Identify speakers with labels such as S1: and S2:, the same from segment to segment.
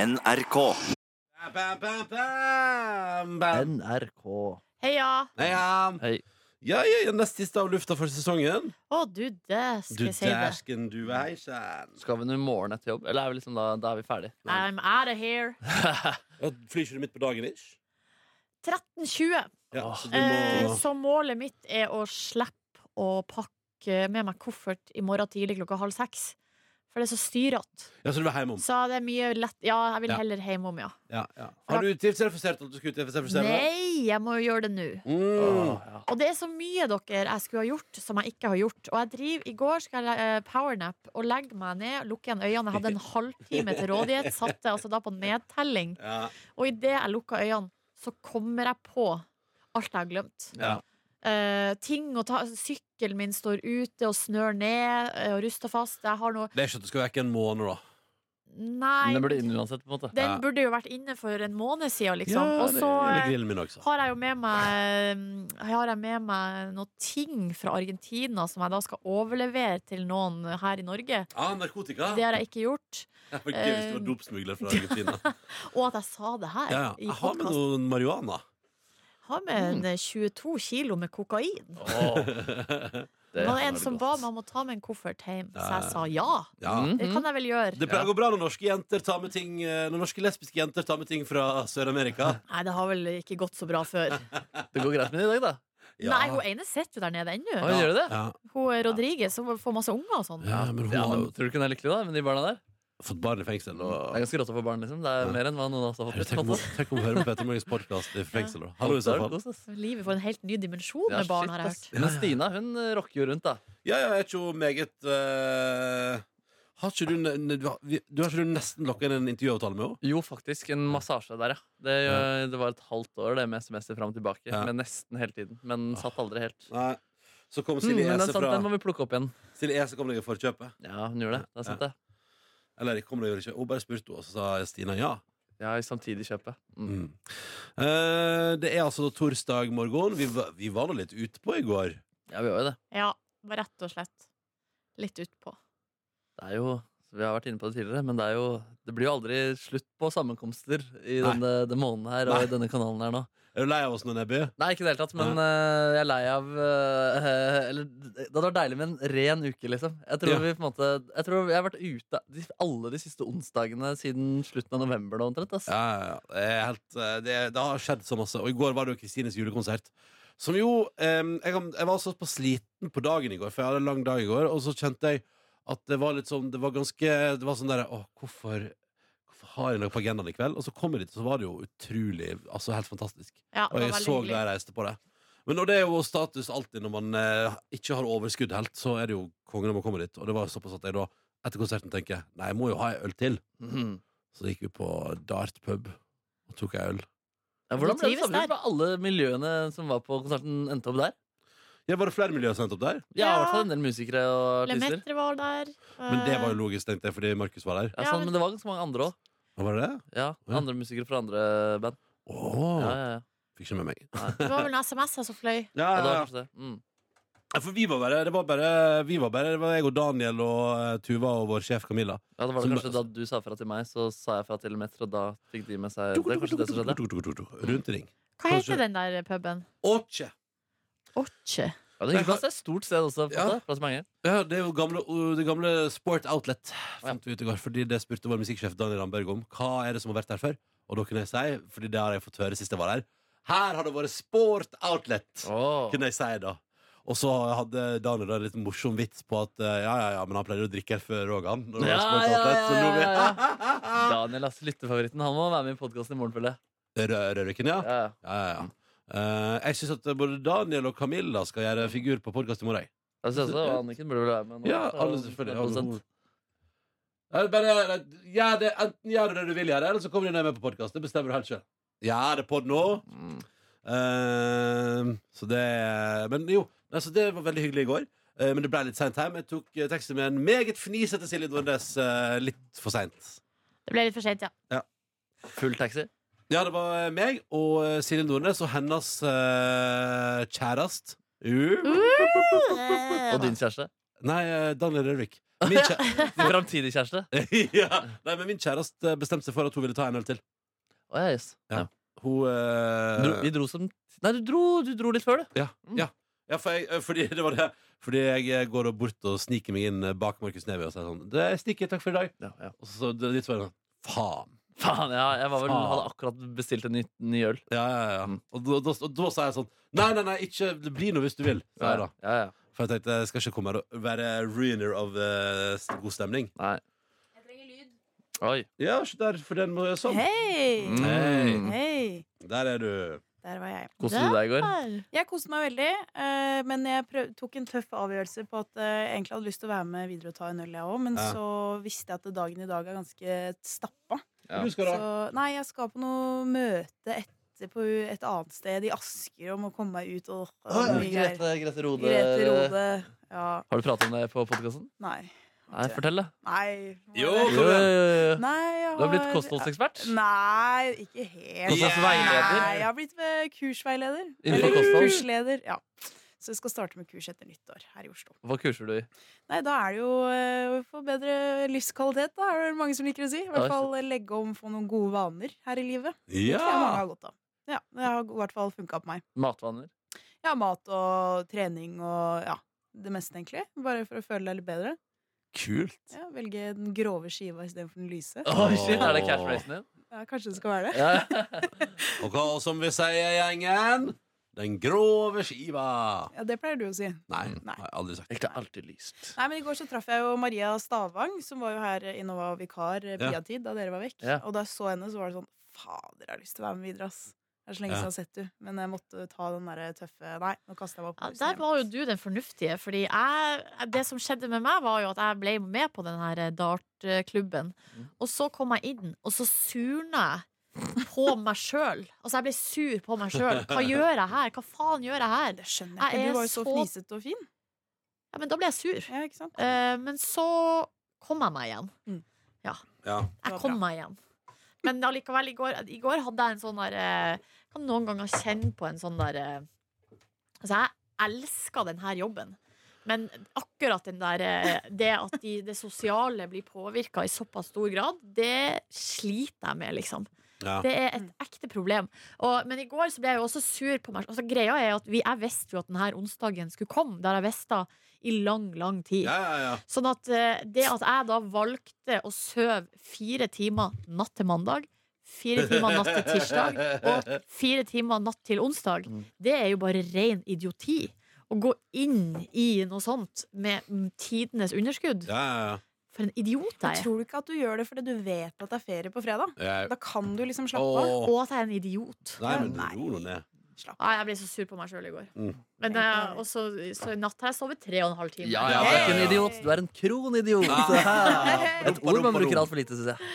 S1: NRK.
S2: Bam, bam, bam, bam.
S3: NRK.
S4: Heia.
S2: Ja.
S3: Hei.
S2: Ja, ja, ja, nest siste av lufta for sesongen.
S4: Å, du dæsken,
S2: Du
S4: jeg sier det.
S2: dæsken, du heisan.
S3: Skal vi nå i morgen etter jobb? Eller er vi liksom da, da er vi ferdig?
S4: I'm out of here.
S2: Ja, Flyr ikke du midt på dagen, ish?
S4: 13.20.
S2: Ja,
S3: Åh.
S2: så du
S4: Eh,
S2: må
S4: så målet mitt er å slippe å pakke med meg koffert i morgen tidlig klokka halv seks. For det er så styrete.
S2: Ja, så du vil hjem om.
S4: Så det er mye lett Ja, jeg vil
S2: Ja.
S4: heller hjem om, ja.
S2: Ja, ja. Har du tidsrefusert at du skulle tidsrefusere?
S4: Nei, jeg må jo gjøre det nå.
S2: Mm.
S3: Åh, ja.
S4: Og det er så mye dere jeg skulle ha gjort, som jeg ikke har gjort. Og jeg driver, I går skal jeg eh, powernap og legge meg ned, lukke igjen øynene. Jeg hadde en halvtime til rådighet, satte altså da på nedtelling.
S2: Ja,
S4: Og idet jeg lukker øynene, så kommer jeg på alt jeg har glemt.
S2: ja.
S4: Eh, ting å ta Sykkelen min står ute og snør ned eh, og ruster fast. Jeg har noe
S2: Det er ikke at du skal vekke en måned, da.
S4: Nei.
S3: Men den burde inn uansett, på en måte.
S4: Den
S2: Ja.
S4: burde jo vært inne for en måned siden, liksom. og
S2: det
S4: så
S2: gjelder
S4: eh,
S2: grillen min også.
S4: har jeg jo med meg eh, Har jeg med meg noen ting fra Argentina som jeg da skal overlevere til noen her i Norge.
S2: Ah, narkotika?
S4: Det har jeg ikke gjort.
S2: Det var gøy hvis du var
S4: Eh,
S2: dopsmugler fra Argentina.
S4: Og at jeg sa det her
S2: Ja, ja.
S4: i
S2: Jeg har med
S4: podkast.
S2: noe Mm. marihuana.
S4: Har med en, eh, 22 kilo med kokain.
S3: Det
S4: Det var
S3: er
S4: en som
S3: godt.
S4: ba meg om å ta med en koffert hjem, så jeg
S2: Ja.
S4: sa ja.
S2: Ja.
S3: Mhm.
S4: Det kan jeg vel gjøre.
S2: Det går bra når norske, jenter tar med ting, eh, når norske lesbiske jenter tar med ting fra Sør-Amerika.
S4: Nei, det har vel ikke gått så bra før.
S3: Det går greit med det i dag, da.
S2: Ja.
S4: Nei, hun ene sitter jo der nede ennå.
S3: Oi. gjør det?
S2: Ja,
S4: Hun eh, Rodriguez hun får masse unger og sånn.
S2: ja men hun
S3: Ja,
S2: har
S3: men
S2: jo
S3: Tror du ikke hun er lykkelig, da? Med de barna der?
S2: fått barn i fengsel.
S3: Det er
S2: Og...
S3: ganske rått å få barn, liksom. Det er mer enn hva noen av oss har
S2: Herre,
S3: fått. på
S2: Tenk
S3: en
S2: om,
S3: måte.
S2: tenk om hun hører på Petter Morgens podkast i fengsel. da. Hallo, i så
S3: Det er
S2: fall.
S3: godt, ass.
S4: Livet får en helt ny dimensjon
S3: Ja,
S4: med barn,
S3: shit,
S4: har jeg
S3: ass.
S4: hørt.
S3: Men Stina hun eh, rocker jo rundt, da.
S2: Ja, ja, er ikke hun meget eh, Har ikke du, ne- ne- du, har, vi- du har ikke du nesten lokka inn en intervjuavtale med henne?
S3: Jo, faktisk. En massasje der, ja. Det, eh, det var et halvt år det med SMS-er fram og tilbake.
S2: Ja.
S3: Men nesten hele tiden. Men satt aldri helt.
S2: Nei. Så kom
S3: Mm,
S2: Silje
S3: men den,
S2: Ese
S3: sant,
S2: fra
S3: den må vi plukke opp igjen.
S2: Silje Ese kom deg i forkjøpet.
S3: Ja, hun gjorde det. Det er sant, det.
S2: Eller kom deg ikke. Hun bare spurte, og så sa Stina ja.
S3: Ja, i samtidig kjøpet. Mm.
S2: Mm. Eh, det er altså torsdag morgen. Vi, va- vi var nå litt utpå i går.
S3: Ja, vi gjør jo det.
S4: Ja, bare rett og slett. Litt utpå.
S3: Det er jo vi har vært inne på det tidligere, men det, er jo, det blir jo aldri slutt på sammenkomster i
S2: Nei.
S3: denne den måneden her og
S2: Nei.
S3: i denne kanalen her nå.
S2: Er du lei av oss nå, Nebby?
S3: Nei, ikke i det hele tatt, men eh, jeg er lei av eh, Eller det hadde vært deilig med en ren uke, liksom. Jeg tror
S2: Ja.
S3: vi på en måte Jeg tror jeg har vært ute de, alle de siste onsdagene siden slutten av november nå, omtrent. ass.
S2: Ja, ja, ja. Det, er helt, eh, det, det har skjedd så masse. Og i går var det jo Kristines julekonsert. Som jo eh, jeg, kan- jeg var såpass sliten på dagen i går, for jeg hadde en lang dag i går, og så kjente jeg at det var litt sånn Det var ganske Det var sånn derre Å, hvorfor Hvorfor har jeg noe på agendaen i kveld? Og så kom jeg dit, og så var det jo utrolig Altså helt fantastisk.
S4: Ja,
S2: Og
S4: det
S2: jeg
S4: var
S2: er
S4: veldig
S2: så glad
S4: hyggelig.
S2: jeg reiste på det. Men og det er jo status alltid når man eh, ikke har overskudd helt, så er det jo kongen om å komme dit. Og det var såpass at jeg da, etter konserten, tenker nei, jeg må jo ha ei øl til.
S3: Mhm.
S2: Så gikk vi på Dart pub og tok ei øl.
S3: Ja, hvordan
S4: Du
S3: ble det
S4: trives
S3: samlet
S4: der.
S3: med alle miljøene som var på konserten, endte opp der?
S2: Ja, var det flere miljøer sendt opp der?
S3: Ja, i
S4: Ja.
S3: hvert fall en del musikere og artister.
S4: Lemaitre var der. eh,
S2: Men det var jo logisk, tenkte jeg, fordi Markus var der.
S3: Ja,
S4: Ja,
S3: sånn,
S4: men-
S3: men det var ganske mange andre òg.
S2: Og var det det?
S3: Ja,
S2: Ja.
S3: andre musikere fra andre band.
S2: Åh,
S3: Ja, ja, ja.
S2: Fikk ikke med meg.
S4: Det var vel noen SMS-er som fløy.
S2: Ja,
S3: Ja, det var kanskje det. Mm.
S2: For vi var bare Det var bare, vi var bare det var jeg og Daniel og eh, Tuva og vår sjef Camilla.
S3: Ja, det var
S2: Som
S3: det
S2: da-
S3: kanskje da du sa fra til meg, så sa jeg fra til Metro, og da fikk de med seg Det er kanskje det som skjedde?
S2: Rundt i ring.
S4: Hva
S2: Kanskje-
S4: heter den der puben?
S2: Åtje!
S4: Orche.
S3: Ja, det er hyggelig plass. Det er et stort sted også. på en
S2: Ja.
S3: måte. Plass til mange.
S2: Ja, det er jo gamle, uh, det gamle Sport Outlet. Fant vi ut i går, fordi Det spurte vår musikksjef Daniel Ramberg om. Hva er det som har vært der før? Og da kunne jeg si, fordi det har jeg fått høre sist jeg var her, her har det vært Sport Outlet!
S3: Åh.
S2: Kunne jeg si da. Og så hadde Daniel da en litt morsom vits på at uh, ja, ja, ja, men han pleier å drikke her før òg, han. Når det
S3: Ja,
S2: var Sport
S3: ja,
S2: Outlet, så
S3: ja,
S2: nå
S3: ja,
S2: blir-
S3: ja. Daniel, ass, lyttefavoritten, han må være med i podkasten i morgen, føler jeg.
S2: Rø- Rødviken, ja.
S3: Ja, ja.
S2: ja, ja, ja. Uh, jeg syns at både Daniel og Camilla skal gjøre figur på podkast i morgen. jeg.
S3: Jeg synes også, og Anniken burde vel være med nå.
S2: Ja,
S3: Så-
S2: alle selvfølgelig. alle
S3: produsent.
S2: homo- Ja, det er bare, ja, det, enten gjør du det du vil gjøre, eller så kommer du ned med på podkast. Det bestemmer du helt selv. Ja, det er pod nå.
S3: Mm.
S2: Ehm, så det Men jo, altså, det var veldig hyggelig i går. Eh, men det ble litt seint hjem. Jeg tok eh, teksten med en meget fnisete Silje Nordnes eh, litt for seint.
S4: Det ble litt for sent, ja.
S3: Full taxi.
S2: Ja, det var meg og eh, Silje Nordnes og hennes uh, kjæreste. Uh.
S3: Og din kjæreste.
S2: Nei, eh, Daniel Rørvik. Min, kjæ
S3: Framtidig kjæreste?
S2: ja. Nei, men min kjæreste bestemte seg for at hun ville ta en øl til.
S3: Å, ja, jøss.
S2: Ja.
S3: Ja.
S2: Hun eh,
S3: Dro, vi dro som Nei, du dro, du dro litt før, du.
S2: Ja, ja. ja for jeg, fordi det var det Fordi jeg går bort og sniker meg inn bak Markus Neby og sier sånn Det er stikket, takk for i dag
S3: Ja, ja.
S2: Og så det er litt sånn Faen
S3: Faen, ja, jeg var vel,
S2: Faen.
S3: hadde akkurat bestilt en ny, ny øl.
S2: ja, ja, ja.
S3: Mm.
S2: Og, da, da, og da sa jeg sånn Nei, nei, nei, ikke bli noe hvis du vil sa jeg da.
S3: ja, ja.
S2: For jeg tenkte, jeg skal ikke komme her og være ruiner av eh, st- god stemning
S3: Nei. Oi.
S2: Ja, så der, for den må jeg sånn
S1: Hei!
S3: Mm.
S2: Hei.
S1: Hei!
S2: Der er du
S1: Der var jeg.
S3: Koste du deg i går?
S4: Der.
S1: Jeg koste meg veldig, eh, men jeg prøv, tok en tøff avgjørelse på at eh, jeg egentlig hadde lyst til å være med videre og ta en øl, jeg òg, men
S2: Ja.
S1: så visste jeg at dagen i dag er ganske stappa.
S3: Ja.
S2: Du skal
S1: Så
S2: da
S1: nei, jeg skal på noe møte etter på et annet sted i Asker om å komme meg ut og
S2: Å, ja,
S1: mye greier.
S3: Grete Rode.
S1: Grete Rode. Ja,
S3: Har du pratet om det på podkasten?
S1: nei.
S3: Nei, fortell det.
S1: Nei.
S2: Jo,
S1: hva er det?
S2: kom igjen.
S1: Nei, jeg har
S3: Du har blitt kostholdsekspert.
S1: Nei, ikke helt.
S3: Kostholdsveileder.
S1: Nei, jeg har blitt eh, kursveileder.
S3: Innenfor
S1: Eller
S3: kosthold.
S1: kursleder, ja. Så jeg skal starte med kurs etter nyttår her i Oslo.
S3: Hva kurser du i?
S1: Nei, da er det jo eh, å få bedre livskvalitet, da, er det mange som liker å si. I
S3: Ja,
S1: hvert fall eh, legge om, få noen gode vaner her i livet. Det tror jeg mange
S2: Ja
S1: har godt av. Ja, det har i hvert fall funka på meg.
S3: Matvaner?
S1: Ja, mat og trening og ja, det meste, egentlig. Bare for å føle deg litt bedre.
S2: Kult
S1: Ja, velge den grove skiva istedenfor den lyse.
S3: Oi, shit, Er det cash racen din?
S1: Ja, kanskje det skal være det.
S3: Ja.
S2: Og hva som vi sier, gjengen Den grove skiva
S1: Ja, Det pleier du å si.
S2: Nei,
S1: Nei.
S2: har jeg aldri sagt
S3: Jeg er alltid lyst.
S1: Nei, men I går så traff jeg jo Maria Stavang, som var jo her inne og var vikar eh, på
S2: Ja.
S1: Jadtid da dere var vekk.
S3: Ja.
S1: Og da jeg så henne, så var det sånn Fader, jeg har lyst til å være med videre, ass. Det er så lenge
S2: Ja.
S1: siden jeg har sett du Men jeg måtte ta den derre tøffe Nei, nå kaster jeg meg
S4: Ja,
S1: opp.
S4: der var jo du den fornuftige, fordi jeg, det som skjedde med meg, var jo at jeg ble med på den her eh, dartklubben.
S3: Mm.
S4: Og så kom jeg inn, og så surna jeg på meg sjøl. Altså, jeg ble sur på meg sjøl. Hva gjør jeg her? Hva faen gjør jeg her?
S1: Det skjønner jeg
S4: Jeg
S1: ikke.
S4: er
S1: Du var jo så
S4: så-
S1: fnisete og fin.
S4: Ja, men da ble jeg sur.
S1: Ja, ikke sant?
S4: Eh, men så kom jeg meg igjen.
S2: Ja
S1: Det var
S4: Jeg kom
S1: bra.
S4: meg igjen. Men allikevel, i går, i går hadde jeg en sånn der eh, Kan noen ganger kjenne på en sånn der eh, Altså, jeg elsker denne jobben. Men akkurat den der, eh, det at de, det sosiale blir påvirka i såpass stor grad, det sliter jeg med, liksom.
S2: Ja.
S4: Det er et ekte problem. Og, men i går så ble jeg jo også sur på meg. Altså, greia er at vi, Jeg visste jo at denne onsdagen skulle komme. Det har jeg visst da i lang, lang tid.
S2: Ja, ja, ja.
S4: Sånn at eh, det at jeg da valgte å sove fire timer natt til mandag, fire timer natt til tirsdag og fire timer natt til onsdag,
S3: Mm.
S4: det er jo bare ren idioti. Å gå inn i noe sånt med mm, tidenes underskudd.
S2: Ja, ja,
S4: For en idiot
S1: Men
S4: jeg er.
S1: Tror du ikke at du gjør det fordi du vet at det er ferie på fredag?
S2: ja. Jeg-
S1: Da kan du liksom slappe av.
S2: Åh.
S4: Og at jeg er en idiot.
S2: Nei, men
S1: Nei.
S2: ro nå ned.
S1: Slapp
S4: Nei, jeg ble så sur på meg sjøl i går.
S2: Mm.
S4: Men eh, også, så i natt har jeg sovet tre og en halv time.
S3: Ja, ja, du er ikke en
S2: Hey!
S3: idiot, du er en kronidiot.
S2: Ja.
S3: Et ord man bruker altfor lite, syns jeg.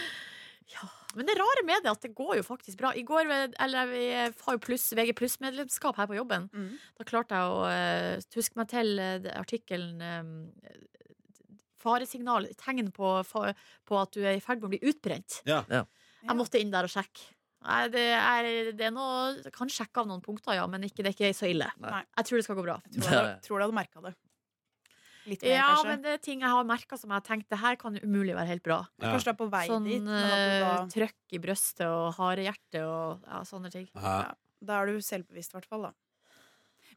S4: Men det rare med det er at det går jo faktisk bra. I går, eller Vi har jo pluss, VG pluss-medlemskap her på jobben.
S1: Mm.
S4: Da klarte jeg å eh, huske meg til eh, det- artikkelen eh, Faresignal, tegn på, fa- på at du er i ferd med å bli utbrent.
S2: Ja.
S3: Ja.
S4: Jeg måtte inn der og sjekke. Nei, det er, det er noe, jeg kan sjekke av noen punkter, ja, men ikke, det er ikke så ille.
S1: Nei.
S4: Jeg tror det skal gå bra.
S1: Jeg tror jeg tror du hadde merka det. Litt mer,
S4: Ja,
S1: kanskje.
S4: men det er ting jeg har merka som jeg har tenkt det her kan umulig være helt bra.
S2: Ja.
S1: Kanskje du er på vei
S4: Sånn
S1: dit. Men at du
S4: eh,
S1: da,
S4: trøkk i brøstet og harehjerte og ja, sånne ting.
S2: Ja.
S1: da er du selvbevisst, i hvert fall. Da.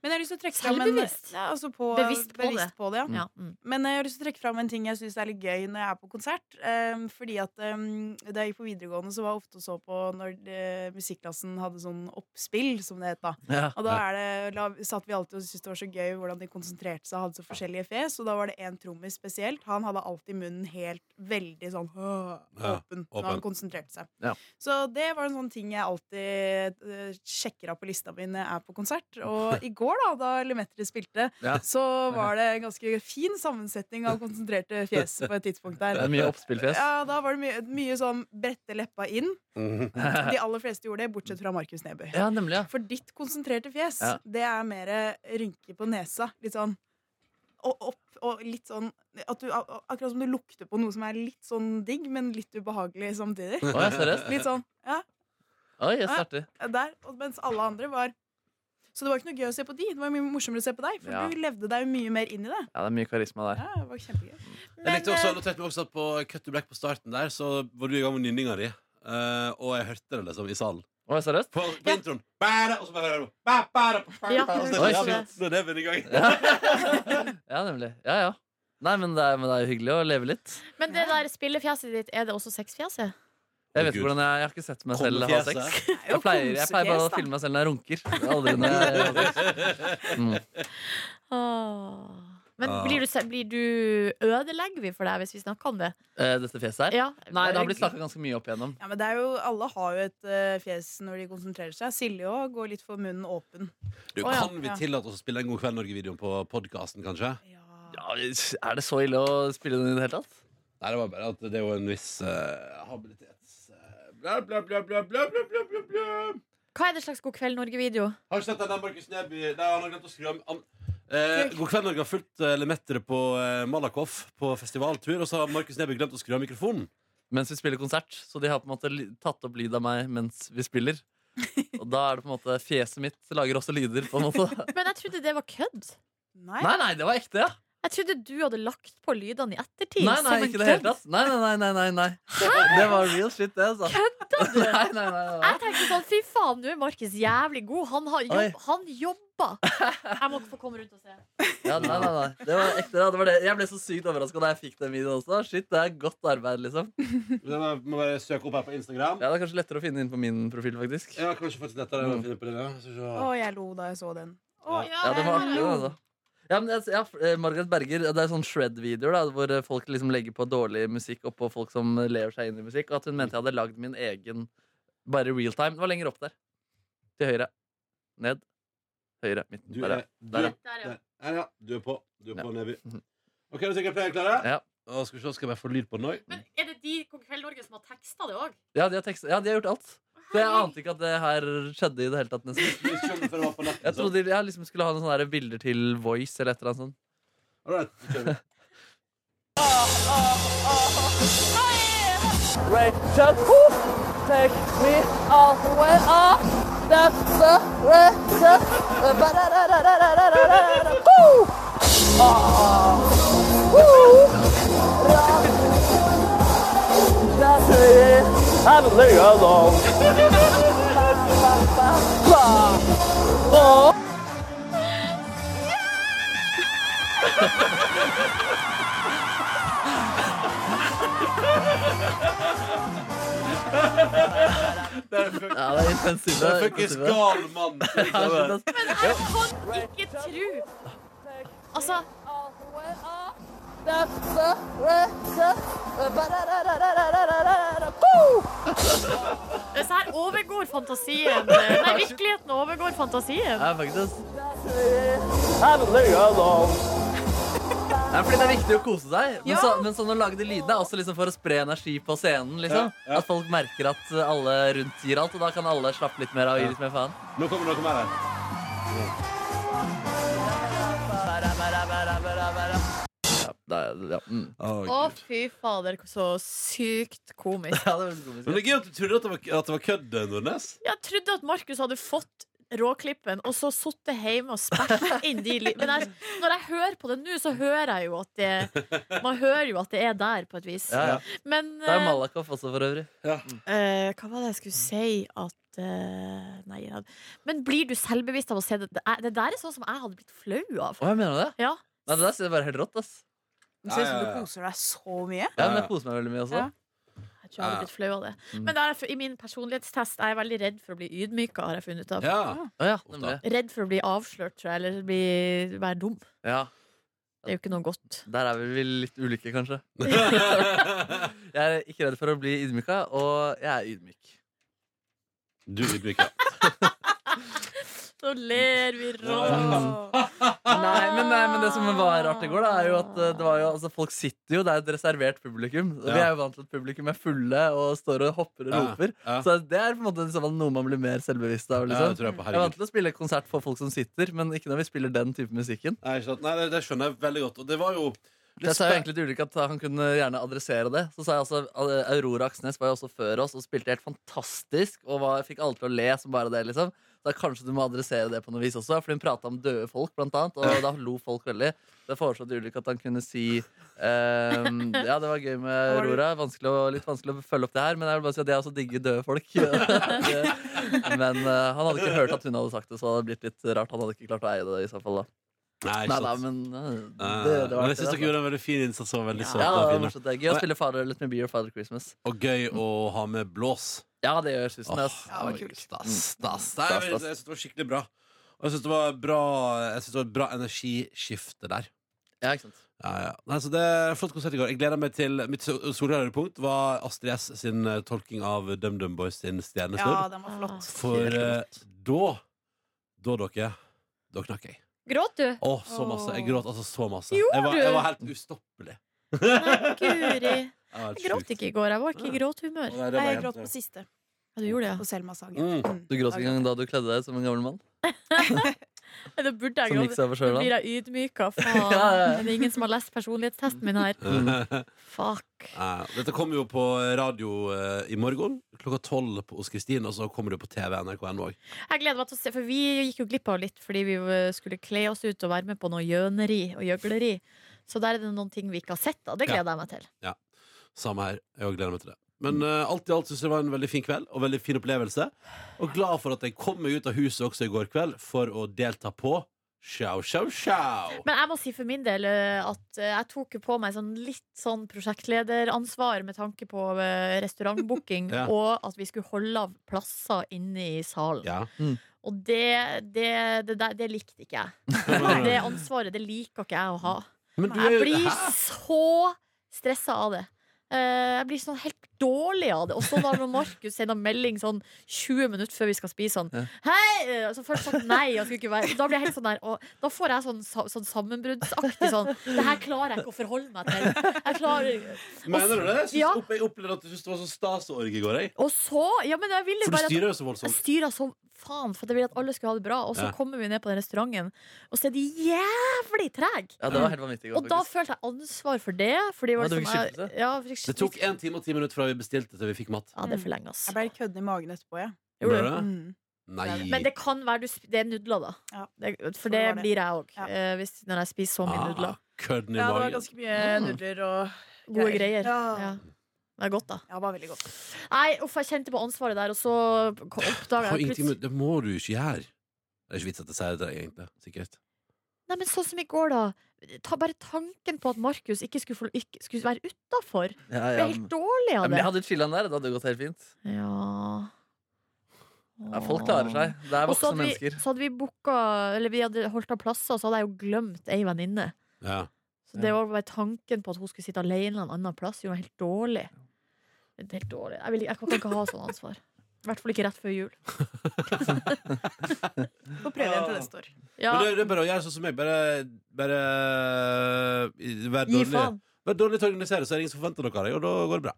S1: Men jeg har lyst til å trekke fram en-
S4: Selvbevisst?
S1: Ja, altså på,
S4: Bevisst på det.
S1: på det ja.
S4: Ja, mm.
S1: Men jeg har lyst til å trekke fram en ting jeg syns er litt gøy når jeg er på konsert. Um, fordi at um, Da jeg gikk på videregående, så var jeg ofte og så på når eh, musikklassen hadde sånn oppspill, som det het da.
S3: Ja.
S1: Og da er det, la, satt vi alltid og syntes det var så gøy hvordan de konsentrerte seg og hadde så forskjellige fjes. Og da var det en trommis spesielt. Han hadde alltid munnen helt veldig sånn «Åh»,
S2: Ja,
S1: åpen
S2: åpen.
S1: når han konsentrerte seg.
S3: Ja.
S1: Så det var en sånn ting jeg alltid eh, sjekker av på lista mi når jeg er på konsert. Og i går, da da Lemetri spilte,
S3: Ja.
S1: så var det en ganske fin sammensetning av konsentrerte fjes på et tidspunkt
S3: Det er
S1: der.
S3: mye oppspillfjes.
S1: Ja, da var det mye, mye sånn brette leppa inn.
S2: Mhm.
S1: De aller fleste gjorde det, bortsett fra Markus Neby.
S3: Ja, nemlig, ja.
S1: For ditt konsentrerte fjes,
S3: Ja.
S1: det er mer rynker på nesa. Litt sånn og opp og litt sånn at du, Akkurat som du lukter på noe som er litt sånn digg, men litt ubehagelig samtidig.
S3: Å, ja, seriøst?
S1: Litt sånn ja,
S3: Oi, jeg starter.
S1: der. og Mens alle andre var Så det var ikke noe gøy å se på de. Det var mye morsommere å se på deg, for
S3: Ja.
S1: du levde deg mye mer inn i det.
S3: Ja, det er mye karisma der.
S1: Ja, det var kjempegøy.
S2: Jeg
S4: Men,
S2: likte også,
S4: eh,
S2: jeg noterte meg også at på Cut to Black på starten der, så var du i gang med nynninga di. eh, og jeg hørte det liksom i salen.
S3: Oi, seriøst?
S2: På, på
S4: Ja.
S2: introen. Bæra, og så bare hører du bæ, bæra, bæ,
S4: Ja,
S2: bæ, og så er
S4: jeg
S2: det
S3: hørte
S2: sånn, ja,
S4: det.
S2: Så det er vi i gang.
S3: Ja, nemlig. Ja, ja. Nei, men det, er, men det er jo hyggelig å leve litt.
S4: Men det der spillefjeset ditt, er det også sexfjeset?
S3: Jeg vet
S2: Gud.
S3: ikke hvordan jeg, jeg har ikke sett meg selv ha
S2: Kongefjeset.
S3: sex.
S1: Det er jo
S3: Jeg pleier, jeg pleier bare å
S1: kosefjes, da.
S3: filme meg selv når jeg runker. Det er Aldri når jeg har sex. Mm.
S4: Åh. Men
S2: Ah.
S4: blir du, se- blir du Ødelegger vi for deg hvis vi snakker om det?
S3: Eh, Dette fjeset her?
S4: Ja.
S3: Nei, det har blitt snakka ganske mye opp igjennom.
S1: Ja, men det er jo, Alle har jo et eh, fjes når de konsentrerer seg. Silje òg går litt for munnen åpen.
S2: Du,
S4: Å, ja.
S2: kan vi
S1: Ja.
S2: tillate oss å spille en God kveld Norge-videoen på podkasten, kanskje?
S3: Ja, er det så ille å spille den i det hele tatt?
S2: Nei, det var bare at det er jo en viss eh, habilitets... eh, Bla, bla, bla, bla, bla, bla, bla, bla, bla.
S4: Hva er det slags God kveld Norge-video?
S2: Har du sett den der Markus Neby Nei, han har glemt å skru av han- Eh, God kveld, Norge har fulgt uh, Lemettere på eh, Malakoff på festivaltur, og så har Markus Neby glemt å skru av mikrofonen.
S3: Mens vi spiller konsert. Så de har på en måte li- tatt opp lyd av meg mens vi spiller. Og da er det på en måte Fjeset mitt lager også lyder, på en måte.
S4: Men jeg trodde det var kødd.
S1: Nei.
S3: Nei, nei, det var ekte, ja.
S4: Jeg trodde du hadde lagt på lydene i ettertid.
S3: Nei, nei,
S4: som en
S3: ikke det hele
S4: kødd.
S3: tatt. Nei, nei, nei, nei, nei, nei. Det var real shit, det, altså.
S4: Kødda du?
S3: Nei, nei, nei, nei.
S4: Jeg tenkte sånn, fy faen, nå er Markus jævlig god. Han, har
S3: Oi.
S4: jobb, han jobber. Jeg må få komme rundt og se.
S3: Ja, nei, nei, nei. Det var ekte, ja. det var det. Jeg ble så sykt overraska da jeg fikk den videoen også. Shit, det er godt arbeid, liksom.
S2: Den er- må bare søke opp her på Instagram.
S3: Ja, Det er kanskje lettere å finne inn på min profil, faktisk.
S2: Ja, kanskje faktisk lettere å
S3: Mm.
S2: finne på det. Ja. Skal vi
S1: Å,
S2: se.
S1: jeg lo da jeg så den.
S3: Ja, det var artig, altså. Ja, men jeg, ja, eh, Margaret Berger, det er sånn shred-videoer da, hvor eh, folk liksom legger på dårlig musikk oppå folk som eh, lever seg inn i musikk. Og at hun mente jeg hadde lagd min egen bare real time. Det var lenger opp der. Til høyre. Ned. Høyre. Midten.
S2: Du
S3: Der,
S2: er,
S3: ja.
S2: du
S3: Der,
S2: er
S3: ja.
S4: Der, ja.
S2: Der. Her, ja. Du er på. Du er
S3: Ja.
S2: på Neby.
S3: Mhm.
S2: OK, er du sikkert flere klare?
S3: Ja.
S2: Å, skal vi se, skal jeg bare få lyd på den òg?
S4: Men er det de Kong Kveld Norge som har teksta det òg?
S3: Ja, de har tekst, ja, de har gjort alt. Så jeg ante ikke at det her skjedde i det hele tatt. nesten
S2: Vi skjønner før det var på nettet,
S3: Jeg
S2: så.
S3: trodde jeg liksom skulle ha noen sånne der bilder til Voice eller et eller annet sånt.
S2: All right, vi kjører. Det er fuck-
S3: Ja, det er intensivt.
S2: det
S3: det
S2: er
S3: er
S2: fuckings
S3: intensivt.
S2: gal mann.
S3: Ja, shit, ass.
S4: Men jeg kan ikke tru Altså, det her overgår fantasien. Nei, virkeligheten overgår fantasien.
S3: Ja, faktisk. Ja, fordi det er viktig å kose seg. Men,
S1: Ja.
S3: så, men sånn å lage de lydene er også liksom for å spre energi på scenen.
S2: Ja,
S3: Liksom.
S2: ja.
S3: At folk merker at alle rundt gir alt, og da kan alle slappe litt mer av og gi litt mer faen.
S2: Nå kommer noe mer her.
S3: Ja, det er, ja. Mm.
S4: Å, fy fader, så sykt komisk.
S3: ja, det er veldig komisk.
S2: Men det er gøy at du trodde at det var, at det var kødd, Nordnes.
S4: Jeg trodde at Markus hadde fått råklippen og så sittet hjemme og spilt inn de lydene. Men jeg, når jeg hører på det nå, så hører jeg jo at det Man hører jo at det er der, på et vis.
S3: Ja, ja.
S4: Men
S3: Det er
S4: eh,
S3: Malakoff også, for øvrig.
S4: eh, hva var det jeg skulle si at eh, Nei, ja. men blir du selvbevisst av å se det? Det er- det der er sånn som jeg hadde blitt flau av.
S3: Å, jeg mener det?
S4: Ja.
S3: Nei, det der ser bare helt rått, ass.
S1: Det ser ut som
S2: Ja, ja,
S1: du
S2: ja.
S1: koser deg så mye.
S3: Ja, men jeg koser meg veldig mye også.
S1: Ja.
S4: Jeg tror jeg hadde blitt flau av det.
S3: Mm.
S4: Men det er, i min personlighetstest jeg er veldig redd for å bli ydmyka, har jeg funnet ut av.
S2: Ja.
S3: Å, ja, nemlig.
S4: Redd for å bli avslørt, tror jeg, eller bli, være dum.
S3: Ja.
S4: Det er jo ikke noe godt.
S3: Der er vi vel litt ulike, kanskje. Jeg er ikke redd for å bli ydmyka, og jeg er ydmyk.
S2: Du ydmyker.
S4: Så ler vi rått.
S1: Åh.
S4: Ah!
S3: Nei, men, nei, men det som var artig i går, da, er jo at eh, det var jo, altså, folk sitter jo Det er et reservert publikum. Og Vi
S2: Ja.
S3: er jo vant til at publikum er fulle og står og hopper og
S2: Ja,
S3: roper.
S2: ja.
S3: Så det er på en måte liksom, noe man blir mer selvbevisst av.
S2: sånn? Ja, det
S3: Liksom.
S2: tror jeg på.
S3: Jeg er vant
S2: Herregud.
S3: til å spille konsert for folk som sitter, men ikke når vi spiller den type musikken.
S2: Nei, ikke sant? Nei, det, det skjønner jeg veldig godt. Og det var jo
S3: For Jeg sa jo egentlig til Ulrik at han kunne gjerne adressere det. Så sa jeg altså eh, Aurora Aksnes var jo også før oss og spilte helt fantastisk. Og var, fikk alle til å le som bare det, liksom. Så da kanskje du må adressere det på noe vis også. For hun prata om døde folk, blant annet. Og da lo folk veldig. Da foreslo Ulrik at han kunne si ehm, Ja, det var gøy med Aurora. Vanskelig å, litt vanskelig å følge opp det her, men jeg vil bare si at jeg også digger døde folk. men eh, han hadde ikke hørt at hun hadde sagt det, så det hadde blitt litt rart. Han hadde ikke klart å eie det i så fall, da.
S2: Nei,
S3: Nei,
S2: ikke
S3: nei,
S2: sant.
S3: men eh,
S2: Eh,
S3: det, det var
S2: men jeg
S3: artig,
S2: syns
S3: da.
S2: dere gjorde en veldig fin innsats. Og veldig søt
S3: Ja,
S2: og
S3: det,
S2: fin,
S3: var morsomt. det er gøy å spille Father, Let Me Be Your Father Christmas.
S2: Og gøy å ha med blås.
S3: Ja, det Mm. gjør Susan. ass.
S2: Åh,
S1: Ja, det var kult.
S2: Stas, Mm. stas. Nei, jeg
S3: Stas, stas.
S2: jeg syns det var skikkelig bra. Og jeg syns det var bra Jeg synes det var et bra energiskifte der.
S3: Ja, ikke sant?
S2: Ja, ja. Nei, så det er en Flott konsert i går. Jeg gleder meg til Mitt so- solklare punkt var Astrid S sin eh, tolking av DumDum Boys sin
S1: Ja,
S2: Stjernesnurr.
S1: den var flott.
S2: For eh, da Da, dere Da knakk jeg.
S5: Gråt du?
S2: Å, så masse. Jeg gråt altså så masse.
S4: Gjorde
S2: Jeg var, jeg
S4: du?
S2: var helt ustoppelig.
S4: Nei, guri.
S2: Jeg var helt
S4: Jeg gråt
S2: sjuk.
S4: ikke i går. Jeg var ikke i
S2: Nei,
S4: gråthumør.
S2: det var
S1: Nei, jeg
S2: helt-
S1: gråt på siste.
S4: Ja, du gjorde
S1: På
S4: det,
S1: Selma Sagen.
S2: Mm.
S3: Du gråt ikke engang da du kledde deg som en gammel mann?
S4: ja. Det burde jeg
S3: Som gikk
S4: gråte.
S3: seg over
S4: Nå
S3: sjøla?
S4: blir jeg ydmyka. Faen.
S3: ja, ja.
S4: Det er ingen som har lest personlighetstesten min her. Mm. Fuck.
S2: Eh, Dette kommer jo på radio eh, i morgen klokka tolv på hos Kristin, og så kommer det på TV NRK1 òg.
S4: Jeg gleder meg til å se, for vi gikk jo glipp av litt fordi vi eh, skulle kle oss ut og være med på noe gjøneri og gjøgleri. Så der er det noen ting vi ikke har sett, og det gleder jeg meg til.
S2: Samme her. Jeg også gleder meg til det. Men
S4: Mm.
S2: eh, alt i alt syns jeg det var en veldig fin kveld og veldig fin opplevelse. Og glad for at jeg kom meg ut av huset også i går kveld for å delta på Sjau, sjau, sjau!
S4: Men jeg må si for min del eh, at eh, jeg tok jo på meg sånn litt sånn prosjektlederansvar med tanke på eh, restaurantbooking,
S2: Ja.
S4: og at vi skulle holde av plasser inne i salen.
S2: Ja.
S4: Og det, det, det, der- det likte ikke jeg. Det ansvaret det liker ikke jeg å ha.
S2: Men du er
S4: Jeg
S2: jo
S4: blir
S2: Hæ?
S4: så stressa av det. Eh, Jeg blir sånn helt dårlig av det. Og så da når Markus sender melding sånn 20 minutter før vi skal spise sånn
S3: Ja.
S4: Hei! Og Så først sånn nei, jeg skulle ikke være Da blir jeg helt sånn der og Da får jeg sånn, sa- sånn sammenbruddsaktig sånn Det her klarer jeg ikke å forholde meg til. Jeg klarer
S2: Mener du det? Jeg, synes,
S4: Ja.
S2: opp- jeg opplevde at du syntes det var så stas å orge i går, jeg.
S4: Og så Ja, men jeg vil jo
S2: For du
S4: bare at
S2: styrer jo så
S4: Jeg
S2: voldsomt.
S4: styra som faen, for at jeg ville at alle skulle ha det bra. Og så
S2: Ja.
S4: kommer vi ned på den restauranten, og så er de jævlig trege.
S3: Ja, det var helt vanvittig i går,
S4: Og da
S3: faktisk.
S4: følte jeg ansvar for det. Fordi det
S3: Ja,
S4: var
S3: du fikk
S4: sånn,
S3: skippelse?
S4: jeg- ja, jeg fikk
S2: Det tok én time og ti minutter fra vi bestilte til vi fikk mat.
S4: Ja, det er for lenge, ass.
S1: Jeg ble kødden i magen etterpå, jeg.
S2: Ble det?
S1: Mm.
S2: Nei.
S4: Men det kan være du sp det er nudler, da.
S1: Ja.
S4: Det, for
S1: Sånn
S4: det
S1: var det.
S4: blir jeg òg.
S1: Ja.
S4: Når jeg spiser så mye nudler.
S2: ah, kødden i
S1: Ja, det var
S2: magen.
S1: ganske mye nudler og
S4: Gode greier. Ja.
S1: Ja.
S4: Det er godt, da.
S1: Ja, det var veldig godt.
S4: Nei, uff, jeg kjente på ansvaret der, og så oppdaga
S2: Har
S4: jeg
S2: ingenting
S4: plutselig
S2: med- Det må du ikke gjøre. Det er ikke vits at jeg sier det til deg, egentlig. Sikkert.
S4: Nei, men sånn som i går, da. Ta, bare tanken på at Markus ikke skulle, få, ikke skulle være utafor.
S3: Ja,
S4: Ble
S3: ja.
S4: helt dårlig
S3: Ja, men
S4: av det.
S3: jeg hadde chilla der. Det hadde gått helt fint.
S4: Ja.
S3: Ja, folk klarer seg. Det er
S4: Og
S3: voksne
S4: så hadde vi,
S3: mennesker.
S4: så hadde vi booka Eller vi hadde holdt av plasser, og så hadde jeg jo glemt ei venninne.
S2: Ja.
S4: Så det var bare tanken på at hun skulle sitte alene en annen plass, gjorde meg helt dårlig. Det er Helt dårlig. Jeg, vil, jeg kan ikke ha sånn ansvar. I hvert fall ikke rett før jul.
S1: Får prøve igjen til neste år.
S4: Ja,
S2: Men det, det er bare å gjøre sånn som meg. Bare, bare i- Vær
S4: gi
S2: dårlig.
S4: faen.
S2: Vær dårlig til å organisere, så er det ingen som forventer noe av deg, og da går det bra.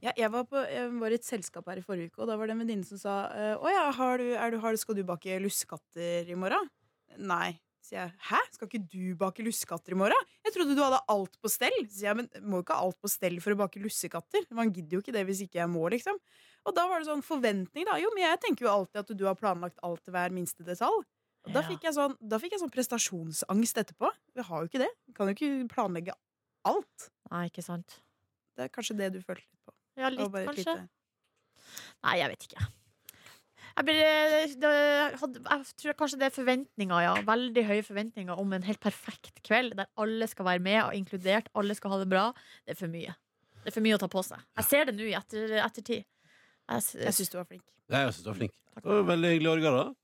S1: Ja, jeg, var på, jeg var i et selskap her i forrige uke, og da var det en venninne som sa eh, Å ja, har du, er du, har du, skal du bake lussekatter i morgen? Nei. Sier jeg. Hæ? Skal ikke du bake lussekatter i morgen? Jeg trodde du hadde alt på stell. Sier jeg, men må jo ikke ha alt på stell for å bake lussekatter. Man gidder jo ikke det hvis ikke jeg må, liksom. Og da var det sånn forventning, da. Jo, men jeg tenker jo alltid at du har planlagt alt til hver minste detalj. Og da
S4: Ja.
S1: fikk jeg sånn, da fikk jeg sånn prestasjonsangst etterpå. Vi har jo ikke det. Vi kan jo ikke planlegge alt.
S4: Nei, ikke sant.
S1: Det er kanskje det du følte litt på.
S4: Ja,
S1: Det var
S4: litt,
S1: bare et
S4: kanskje.
S1: lite-
S4: Nei, jeg vet ikke. Jeg, ble, det, hadde, jeg tror kanskje det er forventninger, ja. Veldig høye forventninger om en helt perfekt kveld der alle skal være med, og inkludert alle skal ha det bra. Det er for mye. Det er for mye å ta på seg. Jeg ser det nå i etter, ettertid. Jeg, s-
S1: Jeg syns du var flink.
S2: Ja, jeg synes du var flink. Det var veldig hyggelig orga, da.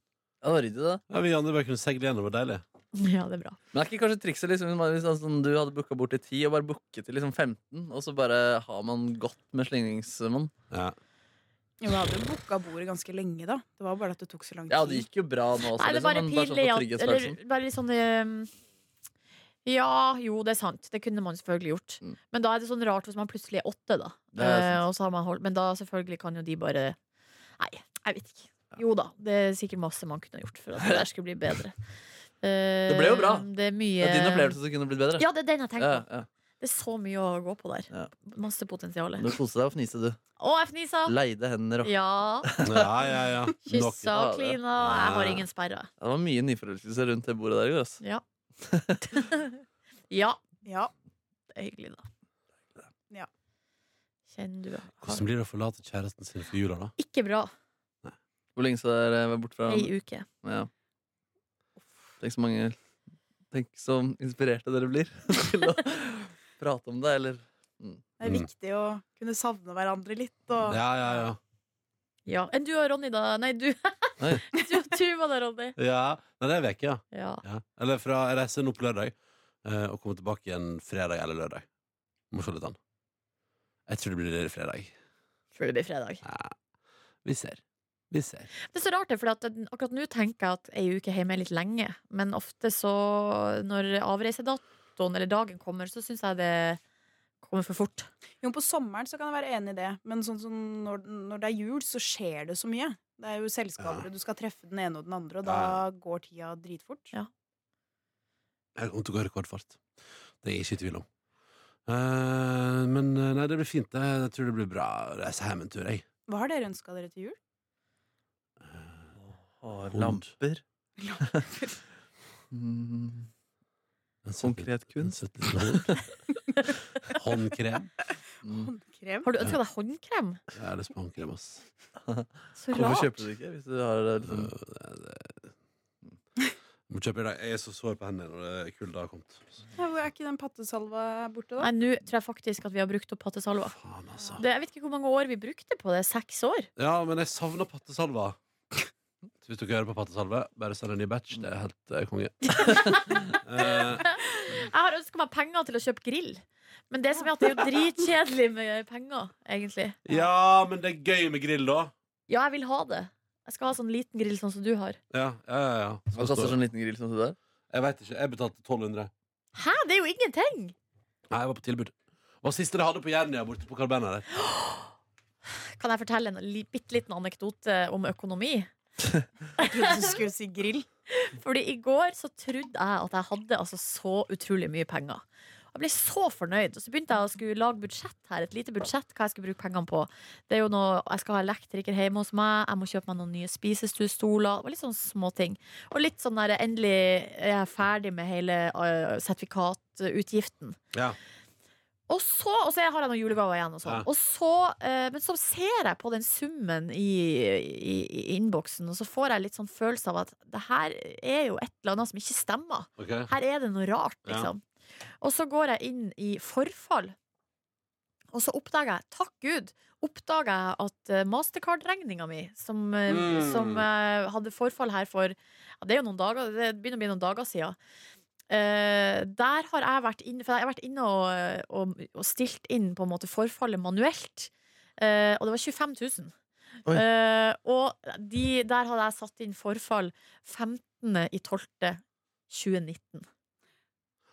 S3: Ja, det var ryddig, det.
S2: Ja, vi andre bare kunne seile gjennom, det var deilig.
S4: Ja, det er bra.
S3: Men er ikke kanskje trikset liksom, hvis man- hvis det er sånn, du hadde booka bort til 10, og bare booke til liksom 15, og så bare har man godt med slingringsmonn?
S2: Ja.
S1: Jo, men jeg hadde jo booka bordet ganske lenge, da. Det var bare at det tok så lang tid.
S3: Ja, det gikk jo bra nå også,
S4: Nei, det er
S3: liksom,
S4: bare
S3: men bare sånn for
S4: pinlig. at-
S3: trygghetsfølelsen.
S4: eller bare litt sånn ehm, Ja, jo, det er sant. Det kunne man selvfølgelig gjort.
S3: Mm.
S4: Men da er det sånn rart hvis man plutselig er åtte, da.
S3: Det er sant.
S4: Eh, og så har man holdt, men da selvfølgelig kan jo de bare Nei, jeg vet ikke. Jo da, det er sikkert masse man kunne gjort for at det der skulle bli bedre. Det
S3: ble jo bra.
S4: Det er mye
S3: Det er din opplevelse som kunne blitt bedre.
S4: Ja, det er den jeg tenker
S3: ja,
S4: på.
S3: ja.
S4: Det er så mye å gå på der.
S3: Ja.
S4: Masse potensial.
S3: Du
S4: Å,
S3: koste deg og fniste, du.
S4: jeg fnisa!
S3: Leide hender og
S4: Ja.
S2: Ja, ja, ja. Nok.
S4: Kyssa
S3: Ja,
S4: og
S3: det-
S4: klina. og Jeg har ingen sperrer.
S3: Det var mye nyforelskelse rundt det bordet der i går. ass.
S4: Ja. ja.
S1: Ja.
S4: Det er hyggelig, da.
S1: Ja.
S4: Kjenn du
S2: Hvordan blir det å forlate kjæresten sin for jula, da?
S4: Ikke bra.
S3: Hvor lenge skal dere være borte fra
S4: Ei uke.
S3: Ja. Tenk så mange Tenk så inspirerte dere blir til å prate om det, eller
S1: Det er
S2: Mm.
S1: viktig å kunne savne hverandre litt. Og...
S2: Ja, ja, ja.
S4: Ja. Enn du og Ronny, da? Nei, du.
S3: Nei.
S4: du og Tuva da, Ronny.
S2: ja. Nei, det er veke, ja.
S4: Ja.
S2: ja. Eller fra jeg reiser nå på lørdag, eh, og kommer tilbake igjen fredag eller lørdag. Må se litt an. Jeg tror det blir fredag.
S4: Tror det blir fredag.
S2: Vi ser. Vi ser.
S4: Det er så rart, det, for akkurat nå tenker jeg at ei uke hjemme er litt lenge. Men ofte så, når avreisedatoen eller dagen kommer, så syns jeg det kommer for fort.
S1: Jo, på sommeren så kan jeg være enig i det, men sånn som når, når det er jul, så skjer det så mye. Det er jo selskaper,
S2: Ja.
S1: og du skal treffe den ene og den andre, og da
S2: Ja,
S1: går tida dritfort.
S4: Ja.
S2: Jeg kommer til å gå rekordfart. Det er jeg ikke i tvil om. Eh, men eh, nei, det blir fint. det. Jeg tror det blir bra å reise hjem en tur, jeg.
S1: Hva har dere ønska dere til jul?
S3: Å,
S2: Hund.
S3: Lamper. Mm,
S2: En
S3: Konkret
S2: søt- en
S3: kunst.
S2: søt liten hund. Håndkrem.
S3: Mm.
S1: Håndkrem?
S4: Har du ønska deg håndkrem?
S2: Jeg har lyst på håndkrem, ass.
S4: Så
S3: Hvorfor
S4: rart.
S3: kjøper du det ikke? Hvis du har eh, liksom,
S2: Mm. Må kjøpe i dag. Jeg er så sår på hendene når det kulda har kommet.
S1: Ja, hvor er ikke den pattesalva borte, da?
S4: Nei, nå tror jeg faktisk at vi har brukt opp pattesalva.
S2: Faen, altså.
S4: Det, jeg vet ikke hvor mange år vi brukte på det. Seks år?
S2: Ja, men jeg savner pattesalva. Så Hvis dere hører på pattesalve, bare send en ny batch. Det er helt eh, konge. Eh,
S4: Jeg har ønska meg penger til å kjøpe grill. Men det som er at det er jo dritkjedelig med penger, egentlig.
S2: ja, men det er gøy med grill, da.
S4: Ja, jeg vil ha det. Jeg skal ha sånn liten grill sånn som du har.
S2: Ja, ja, ja. ja. Så
S3: Hva koster
S2: står-
S3: sånn liten grill som det der?
S2: Jeg vet ikke. Jeg betalte 1200.
S4: Hæ, det er jo ingenting!
S2: Nei, jeg var på tilbud. Hva var siste dere hadde på Jernia borte på Carl Berner der?
S4: Kan jeg fortelle en li- bitte liten anekdote om økonomi?
S1: Jeg trodde du skulle si grill.
S4: Fordi i går så trodde jeg at jeg hadde altså så utrolig mye penger. Jeg ble så fornøyd, og så begynte jeg å skulle lage budsjett her. Et lite budsjett, hva jeg skulle bruke pengene på. Det er jo noe, Jeg skal ha elektriker hjemme hos meg, jeg må kjøpe meg noen nye spisestuestoler. Og litt sånn småting. Og litt sånn der endelig er jeg ferdig med hele øh, sertifikatutgiften.
S2: Ja.
S4: Og så, og så har jeg noen julegaver igjen og sånn.
S2: Ja.
S4: Og så, eh, men så ser jeg på den summen i, i, i innboksen, og så får jeg litt sånn følelse av at det her er jo et eller annet som ikke stemmer.
S2: Ok.
S4: Her er det noe rart,
S2: Ja.
S4: liksom. Og så går jeg inn i forfall, og så oppdager jeg, takk Gud, oppdager jeg at eh, Mastercard-regninga mi, som, eh,
S2: Mm.
S4: som eh, hadde forfall her for ja, Det er jo noen dager, det begynner å bli noen dager siden. Eh, der har jeg vært inne, for jeg har vært inne og, eh, og, og stilt inn på en måte forfallet manuelt. Eh, og det var 25 000.
S3: Oi.
S4: Eh, og de, der hadde jeg satt inn forfall 15.12.2019.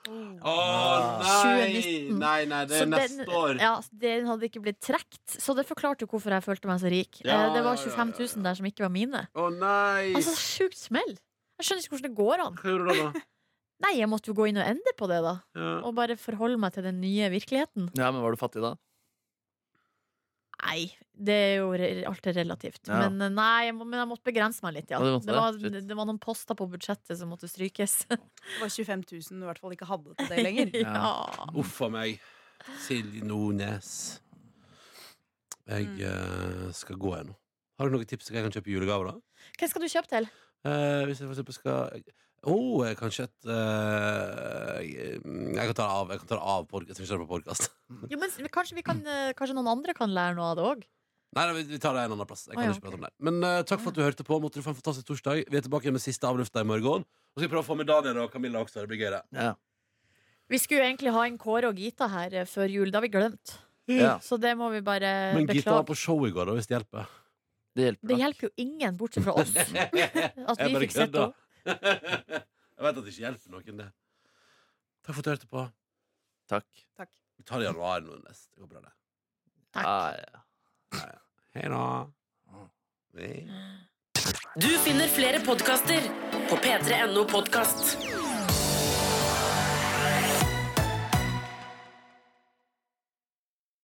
S2: Å nei!
S4: 2019.
S2: Nei, nei, det er neste år.
S4: Ja, Ah. den hadde ikke blitt trukket, så det forklarte jo hvorfor jeg følte meg så rik.
S2: Ja,
S4: Eh, det var
S2: ja, ja, ja,
S4: 25
S2: ja.
S4: 000 der som ikke var mine.
S2: Å nei!
S4: Altså, sjukt smell! Jeg skjønner ikke hvordan det går an.
S2: Hva gjorde du da, da?
S4: Nei, jeg måtte jo gå inn og endre på det, da.
S2: Ja.
S4: Og bare forholde meg til den nye virkeligheten.
S3: Ja, men Var du fattig da?
S4: Nei, det er jo re- alt er relativt.
S3: Ja.
S4: Men eh, nei, jeg må, men jeg måtte begrense meg litt, ja.
S3: Ja, du måtte
S4: det, var,
S3: det. Shit.
S4: det var noen poster på budsjettet som måtte strykes.
S1: Det var 25 000 du i hvert fall ikke hadde til det lenger.
S4: ja.
S2: Uff a meg. Silje Nordnes. Jeg
S4: Mm.
S2: eh, skal gå igjen nå. Har du noen tips til hva jeg kan kjøpe i julegave, da?
S4: Hvem skal du kjøpe til?
S2: Eh, hvis jeg for eksempel skal Å, eh, kanskje et eh, jeg, jeg kan ta det av, jeg kan ta det av podcast. Jeg skal ikke ta det på podcast.
S4: Jo, men s- kanskje, vi kan, eh, kanskje noen andre kan lære noe av det òg?
S2: Nei, nei, vi- vi tar det en annen plass. Jeg
S4: Å,
S2: kan
S4: ja,
S2: ikke prate om det. Men eh, takk for at du hørte på. Måtte du få en fantastisk torsdag. Vi er tilbake igjen med siste avlufta i morgen. Og så skal vi prøve å få med Daniel og Camilla også. Det blir gøy, det.
S3: Ja.
S4: Vi skulle jo egentlig ha en Kåre og Gita her eh, før jul. Det har vi glemt.
S3: Ja.
S4: Så det må vi bare
S2: Men Gita var
S4: beklage.
S2: på show i går, da, hvis det hjelper.
S3: Det hjelper.
S4: Det
S3: nok.
S4: hjelper jo ingen, bortsett fra oss, at vi
S2: Jeg bare
S4: fikk sett
S2: kødda.
S4: henne.
S2: jeg vet at det ikke hjelper noen, det. Takk for at du hørte på.
S3: Takk.
S1: Takk.
S2: Vi tar det i januar nå nest. Det går bra, det.
S4: Takk.
S3: Ja, ja.
S2: Hei da. Hei.
S5: Du finner flere podkaster på p3.no podkast.